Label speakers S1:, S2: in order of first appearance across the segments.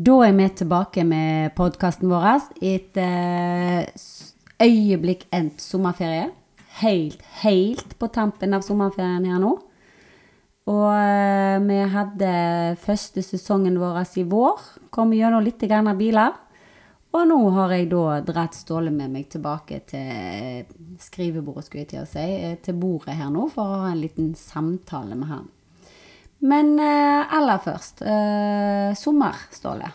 S1: Da er vi tilbake med podkasten vår etter s- øyeblikk endt sommerferie. Helt, helt på tampen av sommerferien her nå. Og eh, vi hadde første sesongen vår i vår. Kom gjennom litt grann av biler. Og nå har jeg da dratt Ståle med meg tilbake til skrivebordet, skulle jeg til å si. eh, Til bordet her nå, for å ha en liten samtale med han. Men eh, aller først, eh, sommer, Ståle.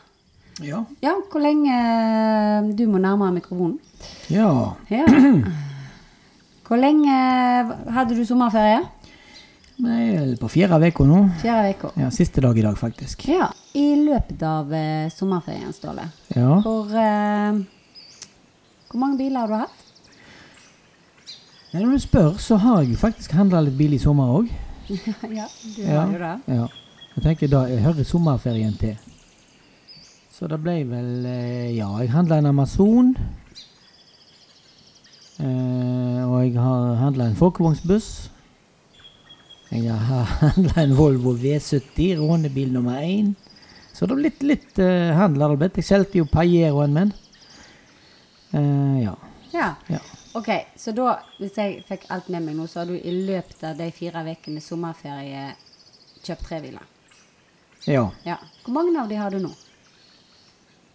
S2: Ja.
S1: Ja, hvor lenge eh, Du må nærmere mikrofonen.
S2: ja.
S1: Ja. Hvor lenge eh, hadde du sommerferie?
S2: Jeg er på fjerde uke nå.
S1: Fjerde uker.
S2: Ja, siste dag i dag, faktisk.
S1: Ja. I løpet av eh, sommerferien, Ståle,
S2: Ja.
S1: hvor eh, Hvor mange biler har du hatt?
S2: Nei, Når du spør, så har jeg jo faktisk handla litt bil i sommer òg.
S1: ja, du
S2: Ja.
S1: har jo det.
S2: ja. Jeg tenker da jeg hører sommerferien til. Så det ble vel eh, Ja, jeg handla en Amazon. Eh, og jeg har handla en folkevognsbuss. Jeg har handla en Volvo V70, rånebil nummer én. Så det har blitt litt eh, handel. har det blitt. Jeg solgte jo Pajeroen min. Eh, ja.
S1: Ja.
S2: ja.
S1: Ok, så da, hvis jeg fikk alt med meg nå, så har du i løpet av de fire ukene sommerferie kjøpt tre biler.
S2: Ja.
S1: Ja. Hvor mange av de har du nå?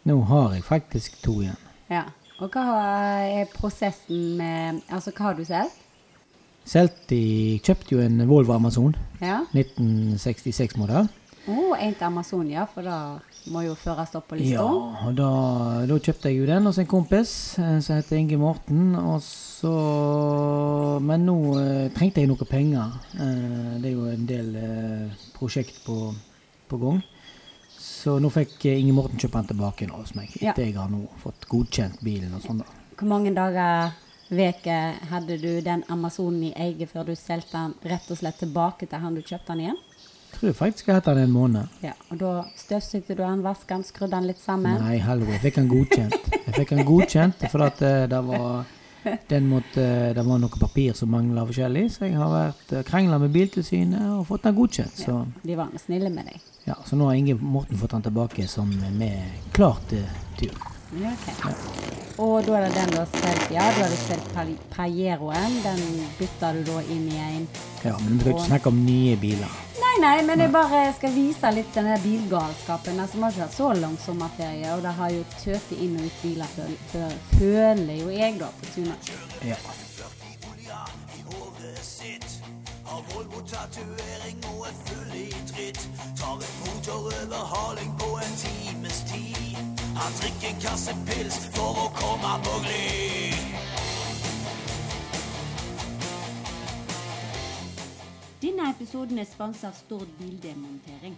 S2: Nå har jeg faktisk to igjen.
S1: Ja. Og hva har- er prosessen med Altså, hva har du solgt?
S2: Solgte Jeg kjøpte jo en Volvo Amazon.
S1: Ja.
S2: 1966-modell.
S1: Å, en til Amazonia, for da må jo føres opp på
S2: Ja,
S1: lista.
S2: og da, da kjøpte jeg jo den hos en kompis eh, som heter Inge Morten. Og så Men nå eh, trengte jeg noe penger. Eh, det er jo en del eh, prosjekt på, på gang. Så nå fikk eh, Inge Morten kjøpe den tilbake nå hos meg,
S1: Ja.
S2: etter jeg har nå fått godkjent bilen og sånn. da.
S1: Hvor mange dager, uker, hadde du den Amazonen i eget før du solgte den rett og slett tilbake til han du kjøpte den igjen?
S2: Tror jeg faktisk jeg har hatt den en måned.
S1: Ja. Og da støvsugde du den, vasket den, skrudde den litt sammen?
S2: Nei, helvete. Jeg fikk den godkjent. Jeg fikk den godkjent for at eh, det var den måtte, det var noe papir som mangla forskjellig, så jeg har vært krangla med Biltilsynet og fått den godkjent. Så
S1: De var nå snille med deg.
S2: ja, så nå har Inge Morten fått den tilbake som med eh, klar til tur.
S1: Ja, ok. Og da er det den du har solgt, ja, du hadde solgt Pa- Pajeroen. Den bytta du da inn i en
S2: Ja, men vi skal ikke snakke om nye biler.
S1: Nei, nei, men jeg bare skal vise litt denne bilgalskapen. Altså, vi har ikke hatt så lang sommerferie, og det har jo tøpt inn og ut biler, føl føl føler jo jeg, da, på Tuna.
S2: Ja.
S3: Denne episoden er sponset av Stord Bildemontering.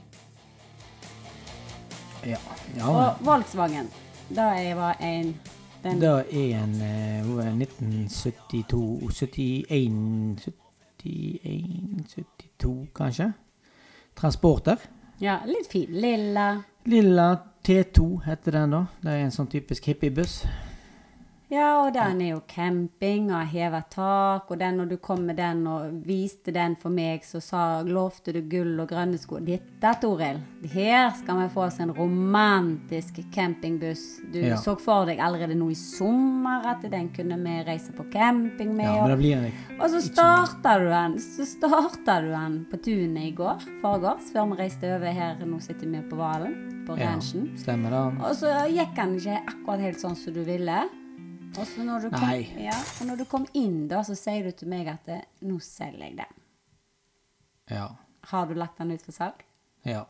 S2: ja. ja.
S1: Og Volkswagen, da jeg var en den,
S2: Det er en eh, hvor er 1972 71 71 72, kanskje? Transporter.
S1: Ja, litt fin. Lilla.
S2: Lilla T2 heter den da. Det er en sånn typisk hippiebuss.
S1: Ja, og den er jo camping og har hevet tak, og den når du kom med den og viste den for meg, så sa, lovte du gull og grønne sko. Dette, Toril, her skal vi få oss en romantisk campingbuss. Du
S2: Ja.
S1: så for deg allerede nå i sommer at den kunne vi reise på camping med.
S2: Ja, men det blir en
S1: og, og så starta du den, så starta du den på tunet i går, foregårs, før vi reiste over her, nå sitter vi på Valen, på
S2: Ja,
S1: ranchen.
S2: stemmer det.
S1: Og så gikk han ikke akkurat helt sånn som du ville. Og så når du kom,
S2: Nei.
S1: ja, og når du kom inn, da, så sier du til meg at eh, 'nå selger jeg den'.
S2: Ja.
S1: Har du lagt den ut for salg?
S2: Ja.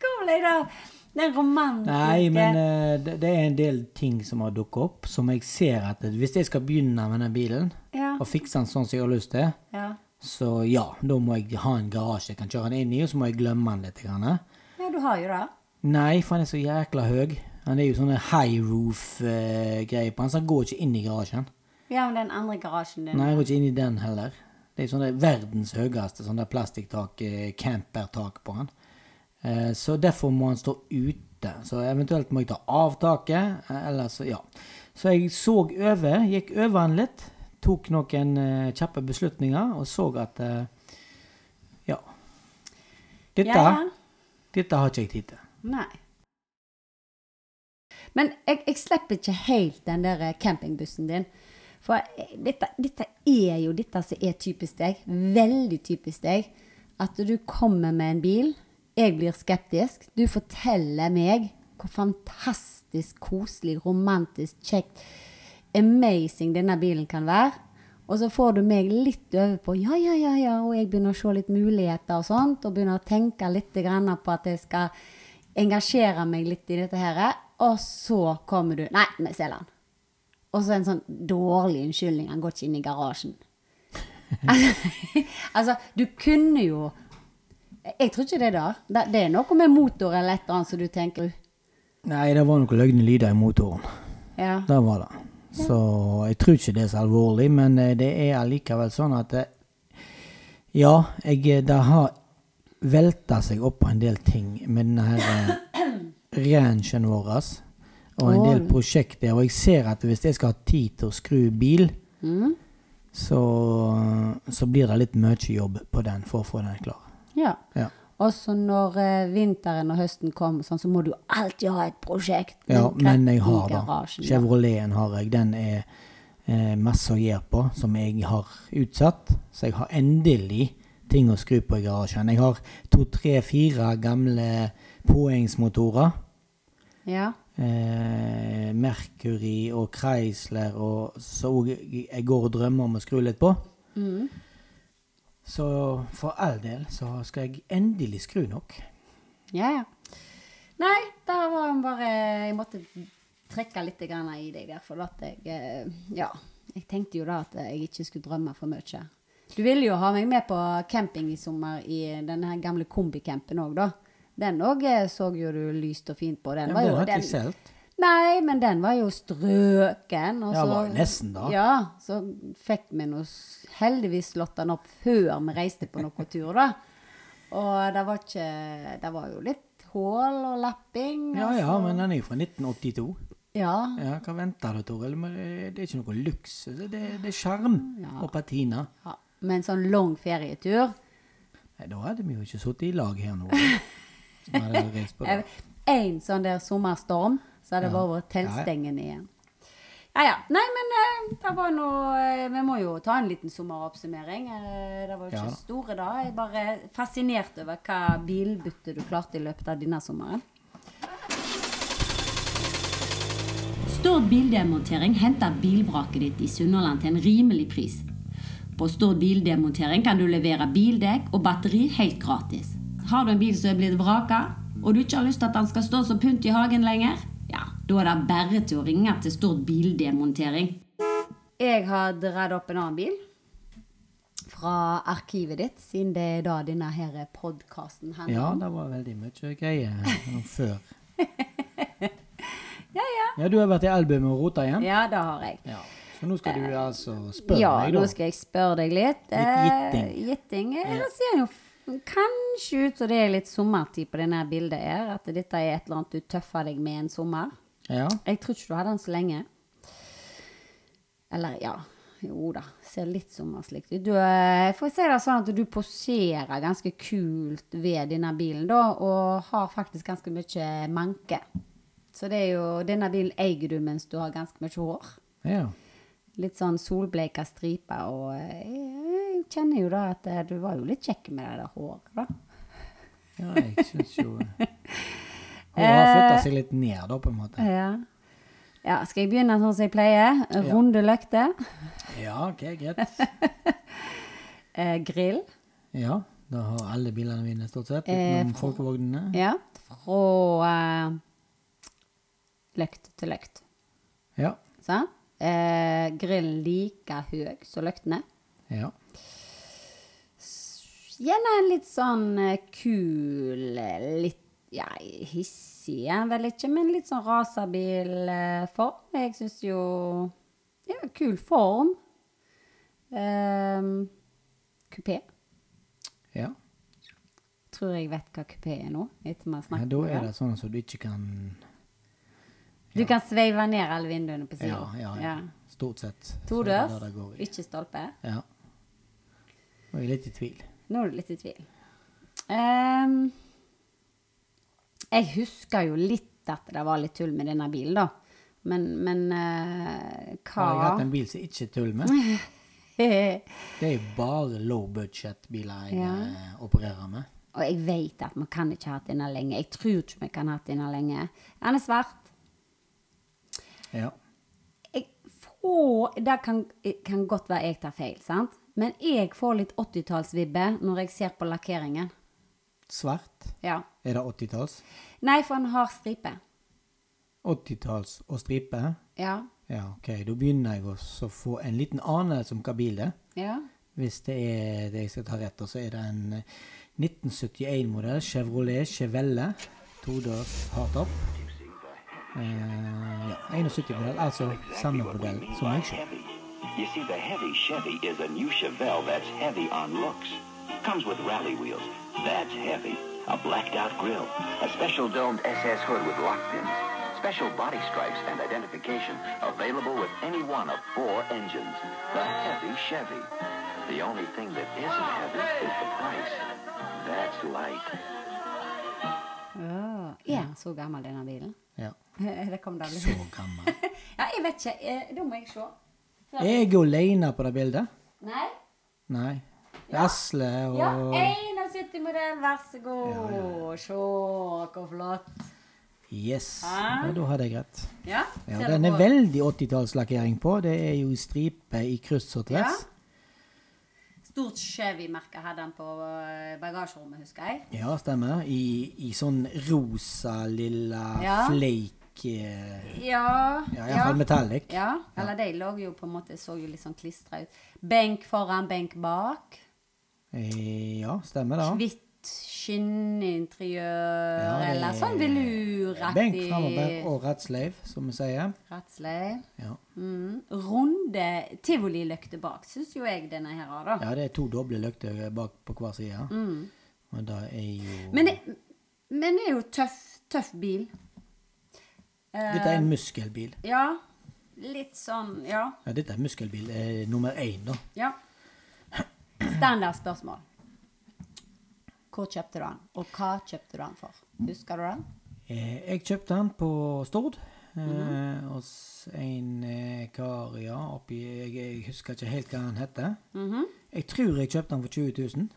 S1: Hvor ble det av den romantiske
S2: Nei, men eh, det, det er en del ting som har dukket opp, som jeg ser at hvis jeg skal begynne med den bilen,
S1: Ja.
S2: og fikse den sånn som jeg har lyst til,
S1: ja.
S2: så ja, da må jeg ha en garasje jeg kan kjøre den inn i, og så må jeg glemme den litt. Grann.
S1: ja, du har jo det.
S2: Nei, for han er så jækla høy. Han er jo sånne high roof-greier på han, så han går ikke inn i garasjen.
S1: Ja, men den andre garasjen din.
S2: Nei, jeg går ikke inn i den heller. Det er jo sånne verdens høyeste sånne plastikktak, eh, campertak på han. Eh, Så derfor må han stå ute. Så eventuelt må jeg ta av taket, eh, ellers så ja. Så jeg så over, gikk over han litt, tok noen eh, kjappe beslutninger og så at eh, ja. Dette
S1: Ja, ja.
S2: Dette har ikke jeg tid til.
S1: Nei. Men jeg, jeg slipper ikke helt den der eh, campingbussen din. For jeg- dette, dette er jo dette som er typisk deg. Veldig typisk deg. At du kommer med en bil, jeg blir skeptisk, du forteller meg hvor fantastisk koselig, romantisk, kjekt, amazing denne bilen kan være. Og så får du meg litt over på ja, ja, ja, ja, og jeg begynner å se litt muligheter og sånt, og begynner å tenke litt grann på at jeg skal engasjere meg litt i dette her, og så kommer du Nei, vi selger den. Og så en sånn dårlig unnskyldning. Han går ikke inn i garasjen. altså, du kunne jo Jeg tror ikke det, da. Det, det er noe med motor eller et eller annet som du tenker
S2: Nei, det var noen løgne lyder i motoren.
S1: Ja.
S2: Det var det. Så jeg tror ikke det er så alvorlig, men eh, det er allikevel sånn at eh, Ja, jeg, eh, det har velta seg opp på en del ting med denne her eh, ranchen vår. Og en del prosjekter. Og jeg ser at hvis jeg skal ha tid til å skru bil, så, så blir det litt mye jobb på den for å få den klar.
S1: ja.
S2: Ja.
S1: Og så når eh, vinteren og høsten kommer, sånn, så må du alltid ha et prosjekt.
S2: Ja, men
S1: rett
S2: jeg
S1: i
S2: har det.
S1: garasjen, ja.
S2: Chevroleten har jeg. Den er eh, masse å gjøre på, som jeg har utsatt. Så jeg har endelig ting å skru på i garasjen. Jeg har to, tre, fire gamle påhengsmotorer.
S1: Ja.
S2: Eh, Mercury og Chrysler og så jeg jeg går og drømmer om å skru litt på.
S1: Mm.
S2: Så for all del så skal jeg endelig skru nok.
S1: ja, ja. Nei, der var han bare Jeg måtte trekke litt grann i deg der, for at jeg eh, Ja. Jeg tenkte jo da at jeg ikke skulle drømme for mye. Du ville jo ha meg med på camping i sommer i den her gamle kombicampen òg, da. Den òg så jo du lyst og fint på. Den
S2: Ja,
S1: var
S2: den
S1: jo
S2: har ikke
S1: den-
S2: jeg solgt.
S1: Nei, men den var jo strøken. Og
S2: Ja,
S1: så,
S2: var jo nesten da.
S1: Ja, så fikk vi nå s- heldigvis slått den opp før vi reiste på noen tur, da. Og det var ikke Det var jo litt hål og lapping.
S2: Ja
S1: og
S2: ja,
S1: så-
S2: men den er jo fra 1982.
S1: Ja.
S2: Ja, hva venter du, Toril? Men eh, Det er ikke noe luksus. Det, det er sjarm og patina.
S1: ja. Med en sånn lang ferietur.
S2: Nei, da hadde vi jo ikke sittet i lag her nå. Som hadde reist på det.
S1: En sånn der sommerstorm, så hadde det
S2: Ja.
S1: bare vært teltstengen igjen. Ja ja. Nei, men eh, det var nå eh, Vi må jo ta en liten sommeroppsummering. Eh, det var jo ikke
S2: Ja da.
S1: store da. Jeg er bare fascinert over hva bilbytte du klarte i løpet av denne sommeren.
S3: Stord bildemontering henter bilvraket ditt i Sunnhordland til en rimelig pris. På Stord bildemontering kan du levere bildekk og batteri helt gratis. Har du en bil som er blitt vraka, og du ikke har lyst til at den skal stå som pynt i hagen lenger, ja, da er det bare til å ringe til Stord bildemontering.
S1: Jeg har dratt opp en annen bil fra arkivet ditt, siden det er da denne her podkasten handler
S2: Ja,
S1: om.
S2: det var veldig mye greier her før.
S1: Ja, ja.
S2: Ja, du har vært i albumet og rota igjen?
S1: Ja, det har jeg.
S2: Ja. Så nå skal du altså spørre
S1: ja,
S2: meg,
S1: nå
S2: da.
S1: skal jeg spørre deg litt.
S2: gitting.
S1: Eh, gitting. Eh, Det ser jo f- kanskje ut som det er litt sommertid på denne bildet her, at dette er et eller annet du tøffer deg med en sommer.
S2: Ja.
S1: Jeg tror ikke du hadde den så lenge. Eller, ja. Jo da, ser litt sommerslikt ut. Du, eh, får jeg si det sånn at du poserer ganske kult ved denne bilen da, og har faktisk ganske mye manke. Så det er jo, denne bilen eier du mens du har ganske mye hår.
S2: ja.
S1: Litt sånn solbleika striper, og eh, jeg kjenner jo da at eh, du var jo litt kjekk med det der håret, da.
S2: Ja, jeg syns jo Hun har
S1: Eh.
S2: flytta seg litt ned, da, på en måte.
S1: Ja. ja, skal jeg begynne sånn som jeg pleier? Runde løkter.
S2: Ja, OK, greit.
S1: Eh, grill.
S2: Ja, da har alle bilene mine stort
S1: Eh,
S2: sett, utenom folkevognene.
S1: Ja. Fra eh, løkt til løkt.
S2: Ja.
S1: Sant? Eh, grillen like høy som løktene.
S2: Ja.
S1: Gjerne en litt sånn eh, kul, eh, litt ja, hissig er han vel ikke, men litt sånn racerbilform. Jeg syns jo Ja, kul form. Ehm, kupé.
S2: ja.
S1: Tror jeg vet hva kupé er nå, etter vi har
S2: Ja,
S1: snakket
S2: da
S1: om
S2: er
S1: det.
S2: det sånn som du ikke kan
S1: Du kan sveive ned alle vinduene på siden.
S2: Ja, ja, ja. Stort sett.
S1: To
S2: så er det
S1: dørs,
S2: der det går i.
S1: ikke stolpe.
S2: Ja. Og jeg er litt i tvil.
S1: Nå er du litt i tvil. Ehm, Jeg husker jo litt at det var litt tull med denne bilen, da. Men, men eh, hva
S2: Har jeg hatt en bil som ikke er tull med? Det er jo bare low budget-biler jeg eh, opererer med.
S1: Og jeg vet at vi kan ikke ha hatt denne lenge. Jeg tror ikke vi kan ha hatt denne lenge. Den er svart.
S2: Ja.
S1: Jeg får Det kan, eh, kan godt være jeg tar feil, sant? Men jeg får litt 80-tallsvibbe når jeg ser på lakkeringen.
S2: Svart.
S1: Ja.
S2: Er det 80-talls?
S1: Nei, for han har stripe.
S2: 80-talls og stripe?
S1: Ja.
S2: Ja, OK. Da begynner jeg også å få en liten anelse om hva bil det er.
S1: Ja.
S2: Hvis det er det jeg skal ta rett, så er det en 1971-modell Chevrolet Chevelle. Todørs hardtop. Eh, ja, 71-modell, altså samme modell som meg selv.
S4: heavy. You see, the heavy Chevy is a new Chevelle that's heavy on looks. Comes with rally wheels. That's heavy. A blacked out grill. A special domed SS hood with lock pins. Special body stripes and identification available with any one of four engines. The heavy Chevy. The only thing that isn't heavy is the price. That's light.
S1: Åh, Er han så gammel, denne bilen?
S2: Ja,
S1: det kom da litt.
S2: så gammel.
S1: Ja, jeg vet ikke. Eh, Da må jeg se.
S2: Er jeg alene på det bildet?
S1: Nei?
S2: Nei. Det er Asle og
S1: Ja, 71-modell, vær så god. Se hvor flott.
S2: Yes. Ja, da hadde jeg rett.
S1: Ja,
S2: Ja,
S1: Ah. ser du
S2: den er
S1: på?
S2: veldig 80-tallslakkering på. Det er jo stripe i kryss og tvers.
S1: Stort Chevy-merke hadde han på eh, bagasjerommet, husker jeg.
S2: Ja, stemmer. I, i sånn rosa, lilla
S1: Ja.
S2: flake eh,
S1: Ja.
S2: Ja, iallfall metallic.
S1: Ja, eller de lå jo på en måte, så jo litt sånn klistra ut. Benk foran, benk bak.
S2: Eh, Ja, stemmer det.
S1: Hvitt skinninteriør,
S2: Ja, det er-
S1: eller sånn
S2: Benk
S1: veluraktig.
S2: framover og rattsleiv, som vi sier.
S1: Ratsleiv.
S2: Ja.
S1: Mm. Runde tivolilykter bak, syns jo jeg denne her har, da.
S2: ja, det er to doble lykter bak på hver side. Og det er jo
S1: Men, det- men det er jo tøff, tøff bil.
S2: Dette er en muskelbil.
S1: Ja. Litt sånn, ja.
S2: Ja, dette er muskelbil eh, nummer én, da.
S1: ja. Standardspørsmål. Hvor kjøpte du den, og hva kjøpte du den for? Husker du den?
S2: Eh, Jeg kjøpte den på Stord. eh,
S1: Mhm.
S2: Hos en eh, kar, ja. Oppi, jeg, jeg husker ikke helt hva han heter.
S1: Mhm.
S2: Jeg tror jeg kjøpte den for 20 000.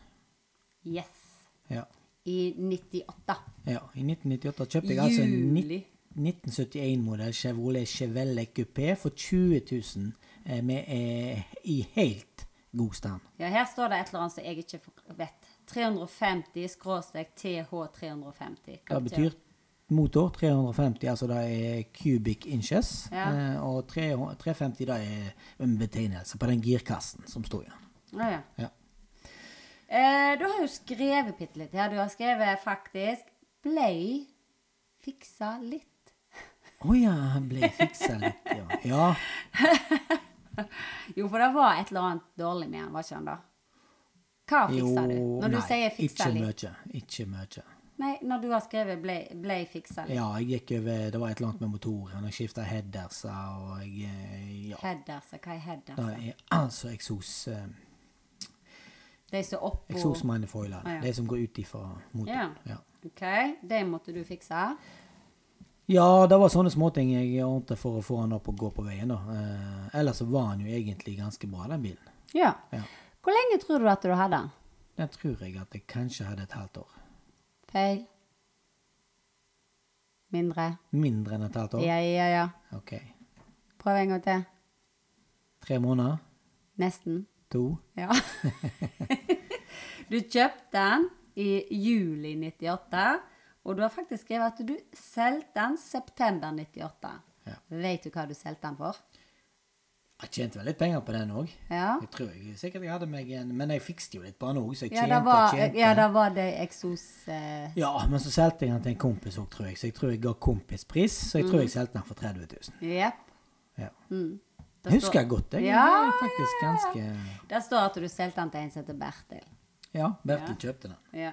S1: Yes.
S2: Ja.
S1: I 98.
S2: Ja, I 1998 kjøpte jeg altså en
S1: Juli.
S2: 1971-modell Chevrolet Chevelle Coupé for 20 000 eh, med, eh, i helt god stand.
S1: Ja, her står det et eller annet som jeg ikke vet. 350 skråstrek TH350.
S2: Det betyr motor 350, altså det er cubic inches,
S1: Ja.
S2: eh, og 300 350 det er en betegnelse på den girkassen som sto igjen.
S1: Ja, ja.
S2: Ja.
S1: Eh, du har jo skrevet bitte litt her. Du har skrevet faktisk Blei fiksa litt.
S2: Å ja, han ble fiksa litt, ja. ja.
S1: Jo, for det var et eller annet dårlig med han, var ikke han da? Hva fiksa du? Når du sier fiksa
S2: ikke
S1: litt?
S2: mye. Ikke mye.
S1: Nei, når du har skrevet blei, blei fiksa litt.
S2: Ja, jeg gikk over Det var et eller annet med motoren. Jeg skifta headerser og jeg eh, Ja.
S1: Headers, altså. hva er
S2: Det
S1: headers?
S2: er altså eksos eh,
S1: De som er oppå
S2: Eksosmanifoilene.
S1: Ah, ja.
S2: De som går ut ifra motoren.
S1: Ja.
S2: Ja.
S1: OK, de måtte du fikse.
S2: ja, det var sånne småting jeg ordnet for å få han opp og gå på veien, da. Eh, ellers så var han jo egentlig ganske bra, den bilen.
S1: Ja.
S2: Ja.
S1: Hvor lenge tror du at du hadde den?
S2: Den tror jeg at jeg kanskje hadde et halvt år.
S1: Feil? Mindre?
S2: Mindre enn et halvt år?
S1: Ja, ja, ja.
S2: OK.
S1: Prøv en gang til.
S2: Tre måneder?
S1: Nesten.
S2: To?
S1: Ja. du kjøpte den i juli 98, og du har faktisk skrevet at du solgte den september 98.
S2: Ja.
S1: Vet du hva du solgte den for?
S2: Jeg tjente vel litt penger på den òg.
S1: Ja.
S2: Jeg tror jeg sikkert jeg hadde meg en Men jeg fikste jo litt på den òg, så jeg
S1: Ja,
S2: tjente
S1: det var,
S2: og tjente.
S1: ja, det var det eksos... Eh,
S2: Ja, men så solgte jeg den til en kompis òg, tror jeg. Så jeg tror jeg ga kompispris. Så
S1: Mm.
S2: jeg tror jeg solgte den for 30 000.
S1: jepp.
S2: Ja.
S1: Mm, Det
S2: Jeg husker
S1: står-
S2: jeg godt, jeg.
S1: Ja,
S2: Det er faktisk ganske
S1: Der står at du solgte den til en som heter Bertil.
S2: Ja, Bertil kjøpte den.
S1: Ja.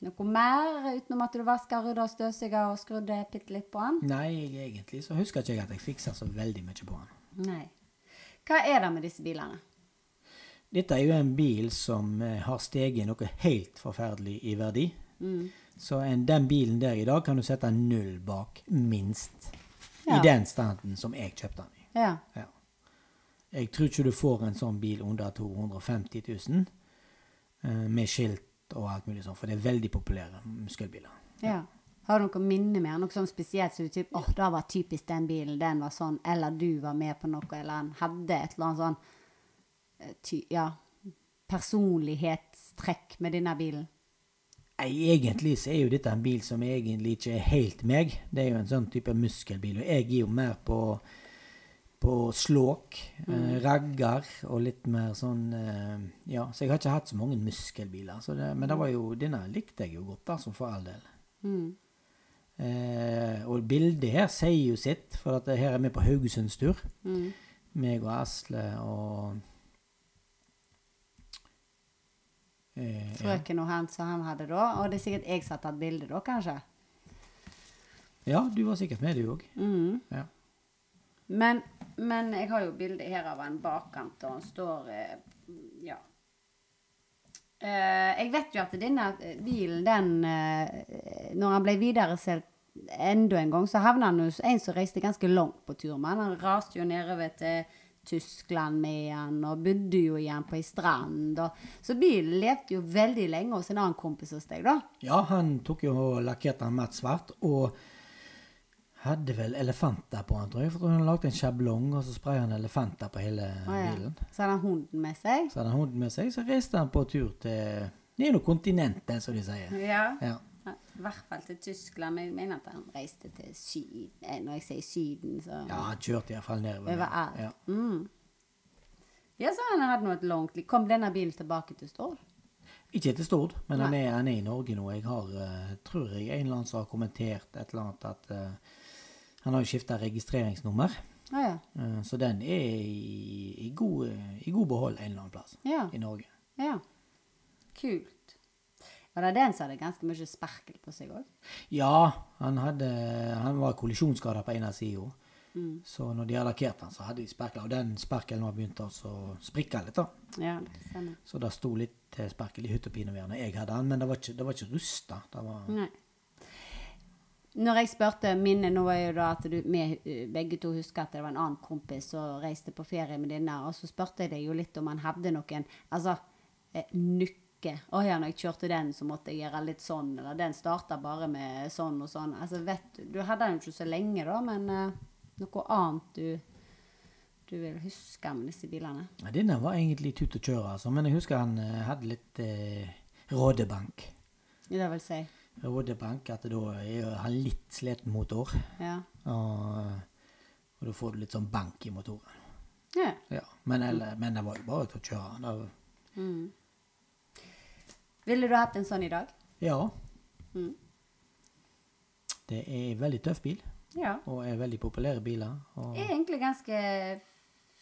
S1: Noe mer utenom at du vasker, rydder, støvsuger og skrudde bitte litt på den?
S2: Nei, jeg, egentlig så husker ikke jeg at jeg fiksa så veldig mye på den.
S1: Nei. Hva er det med disse bilene?
S2: Dette er jo en bil som eh, har steget noe helt forferdelig i verdi. Så en, den bilen der i dag kan du sette null bak, minst.
S1: Ja.
S2: I den standen som jeg kjøpte den i.
S1: Ja.
S2: Ja. Jeg tror ikke du får en sånn bil under 250 000 eh, med skilt og alt mulig sånn, for det er veldig populære muskelbiler.
S1: ja. Har du noe minne med den? Noe sånn spesielt som du typ, åh, da var typisk den bilen, den var sånn, eller du var med på noe, eller den hadde et eller annet sånn eh, ty, ja, personlighetstrekk med denne bilen?
S2: Nei, egentlig så er jo dette en bil som egentlig ikke er helt meg. Det er jo en sånn type muskelbil, og jeg er jo mer på, på slåk, eh, ragger og litt mer sånn eh, Ja, så jeg har ikke hatt så mange muskelbiler, så det, men det var jo, denne likte jeg jo godt, altså, for all del.
S1: Mm.
S2: Eh, og bildet her sier jo sitt, for at her er vi på Haugesunds tur. Meg og Asle og eh, ja.
S1: Frøken og han som han hadde da, og det er sikkert jeg som har tatt bilde da, kanskje?
S2: ja, du var sikkert med, du òg. Ja.
S1: Men, men jeg har jo bilde her av en bakkant, og han står eh, Ja. Eh, jeg vet jo at denne eh, bilen, den eh, Når han ble videresolgt enda en gang, så havna han hos en som reiste ganske langt på tur med han. Han raste jo nedover til Tyskland med han, og bodde jo igjen på ei strand. Og, så bilen levde jo veldig lenge hos en annen kompis hos deg, da.
S2: Ja, han tok jo og lakkerte den matt svart, og hadde vel elefanter på den, tror jeg. For jeg tror han lagde en sjablong, og så sprayet han elefanter på hele
S1: Å, ja.
S2: bilen.
S1: Så hadde han hunden med seg.
S2: Så hadde han hunden med seg, så reiste han på tur til Det er jo kontinentet, som de sier.
S1: Ja.
S2: Ja.
S1: Ja, I hvert fall til Tyskland. Men jeg mener at han reiste til Syden. Eh, Når jeg sier Syden, så
S2: Ja, han kjørte iallfall nedover.
S1: Overalt. Mm.
S2: Ja.
S1: Ja, så han hadde noe et langt liv. Kom denne bilen tilbake til Stord?
S2: Ikke til Stord, men han er, han er i Norge nå. Jeg har, eh, tror jeg, en eller annen som har kommentert et eller annet at eh, Han har jo skifta registreringsnummer,
S1: Å ja.
S2: eh, så den er i, i, god, eh, i god behold en eller annen plass
S1: Ja.
S2: i Norge.
S1: ja. Kult. Var det den som hadde ganske mye sperkel på seg òg?
S2: Ja, han, hadde, han var kollisjonsskada på ene sida. Så når de hadde lakkert han, så hadde de sperkler. Og den sperkelen var begynt å sprikke litt. da.
S1: Ja, det stemmer.
S2: Så det sto litt eh, sperkel i hyttepinevær når jeg hadde han, men det var ikke, det var ikke rusta. Det var
S1: Nei. Når jeg spurte minnet, nå var jo da at du, vi eh, begge to husker at det var en annen kompis som reiste på ferie med denne, og så spurte jeg deg jo litt om han hadde noen altså, eh, nykke. Å ja, når jeg kjørte den, så måtte jeg gjøre litt sånn, eller den starta bare med sånn og sånn. Altså, vet du, du hadde den jo ikke så lenge da, men eh, noe annet du, du vil huske med disse bilene?
S2: Nei, Denne var egentlig tut og kjør, altså. Men jeg husker han eh, hadde litt eh, rådebank.
S1: Det vil si,
S2: Rådebank, at da er han litt sliten motor.
S1: ja.
S2: Og, og da får du litt sånn bank i motoren.
S1: ja.
S2: Ja, Men, eller, men det var jo bare til å kjøre. Det var,
S1: Ville du hatt en sånn i dag?
S2: Ja.
S1: Mm.
S2: Det er en veldig tøff bil,
S1: Ja.
S2: og er veldig populære biler. Og
S1: er egentlig ganske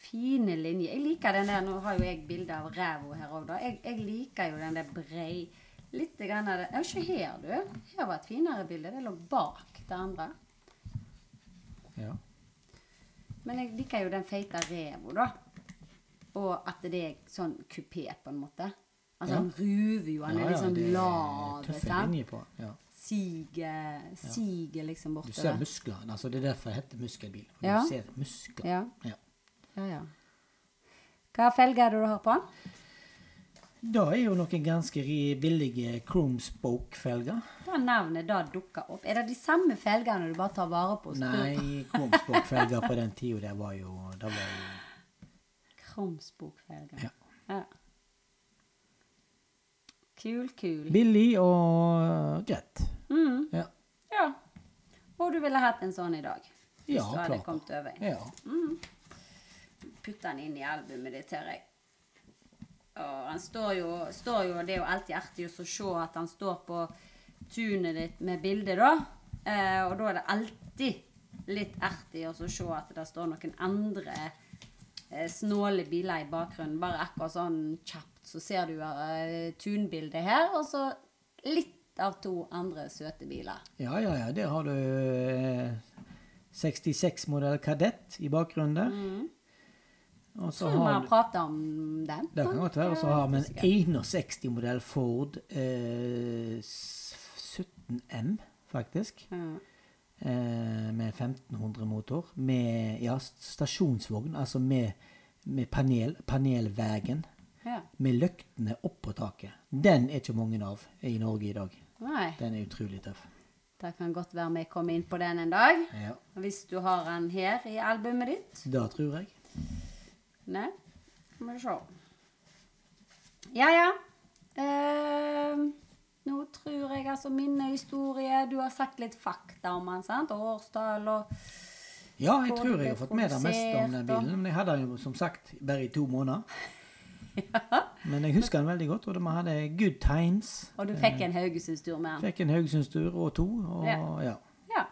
S1: fine linjer. Jeg liker den der, nå har jo jeg bilde av ræva her òg, da. Jeg, jeg liker jo den der brei Litt grann av det Ja, se her, du. Her var et finere bilde. Det lå bak det andre.
S2: ja.
S1: Men jeg liker jo den feite ræva, da. Og at det er sånn kupé, på en måte. Altså,
S2: Ja.
S1: han ruver jo. Han er
S2: Ja, ja,
S1: liksom
S2: det er
S1: lav.
S2: tøffe
S1: sant?
S2: linjer på. den, Ja.
S1: Siger, siger liksom
S2: Du ser
S1: bortover.
S2: musklene. Altså, det er derfor det heter muskelbil. for
S1: Ja.
S2: Du ser muskler.
S1: Ja.
S2: Ja.
S1: Ja, ja. Hva felger er det du har på den?
S2: Da er jo noen ganske ri- billige chrome spoke-felger.
S1: Da navnet da dukker opp. Er det de samme felgene du bare tar vare på? og skrur på?
S2: Nei, chrome spoke-felger på den tida, det var jo det var jo,
S1: Krumsbokfelger.
S2: Ja.
S1: Ja. Kul, kul.
S2: Billig og eh, greit.
S1: Mm,
S2: Ja.
S1: ja. Og du ville hatt en sånn i dag? Hvis
S2: Ja,
S1: du hadde
S2: klart.
S1: kommet over.
S2: ja.
S1: putte den inn i albumet ditt, hører jeg. Og han står jo, står jo Det er jo alltid artig å så se at han står på tunet ditt med bilde, da. Eh, og da er det alltid litt artig å så se at det står noen andre eh, snåle biler i bakgrunnen. Bare akkurat sånn kjapt så ser du eh, tunbildet her, og så litt av to andre søte biler.
S2: Ja, ja, ja. Der har du eh, 66-modell Kadett i bakgrunnen der. Og så
S1: Tror vi
S2: har
S1: har
S2: du
S1: prata om den.
S2: Det kan godt være. Og så har vi en 61-modell Ford eh, s- 15 M, faktisk. Eh, med 1500 motor. Med ja, stasjonsvogn, altså med, med panel, panelvegen.
S1: Ja.
S2: Med løktene opp på taket. Den er ikke mange av i Norge i dag.
S1: Nei.
S2: Den er utrolig tøff.
S1: Det kan godt være vi kommer inn på den en dag.
S2: Ja,
S1: Hvis du har den her i albumet ditt.
S2: Det tror jeg.
S1: Nei, må vi se. Ja, ja. Ehm, nå tror jeg altså min historie Du har sagt litt fakta om den, sant? Og Årstall og
S2: Ja, jeg
S1: Hvor
S2: tror
S1: det
S2: jeg har fått med det meste om den
S1: produsert, og-
S2: bilen. Men jeg hadde den jo som sagt bare i to måneder. Men jeg husker den veldig godt, og da vi hadde good times.
S1: Og du fikk en Haugesundstur med den.
S2: Fikk en Haugesundstur og to, og
S1: Ja.
S2: ja.
S1: Ja.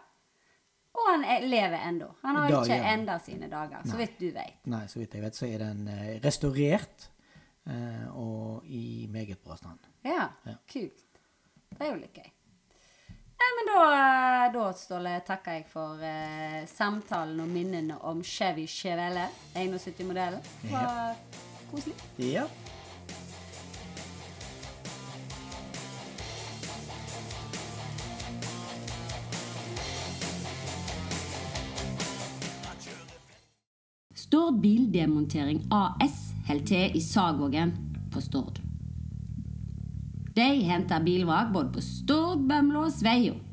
S1: Og han er- lever ennå. Han har
S2: Da
S1: ikke
S2: gjør han.
S1: enda sine dager, så vidt du vet.
S2: Nei, så vidt jeg vet, så er den eh, restaurert eh, og i meget bra stand.
S1: Ja,
S2: Ja.
S1: kult. Det er jo litt gøy. Nei, men da, da Ståle, takker jeg for eh, samtalen og minnene om Chevy Chevelle, 71-modellen. Det var koselig.
S2: Ja.
S3: Stord Bildemontering AS holder til i Sagvågen på Stord. De henter bilvrak både på Stord, Bømlo og Sveio.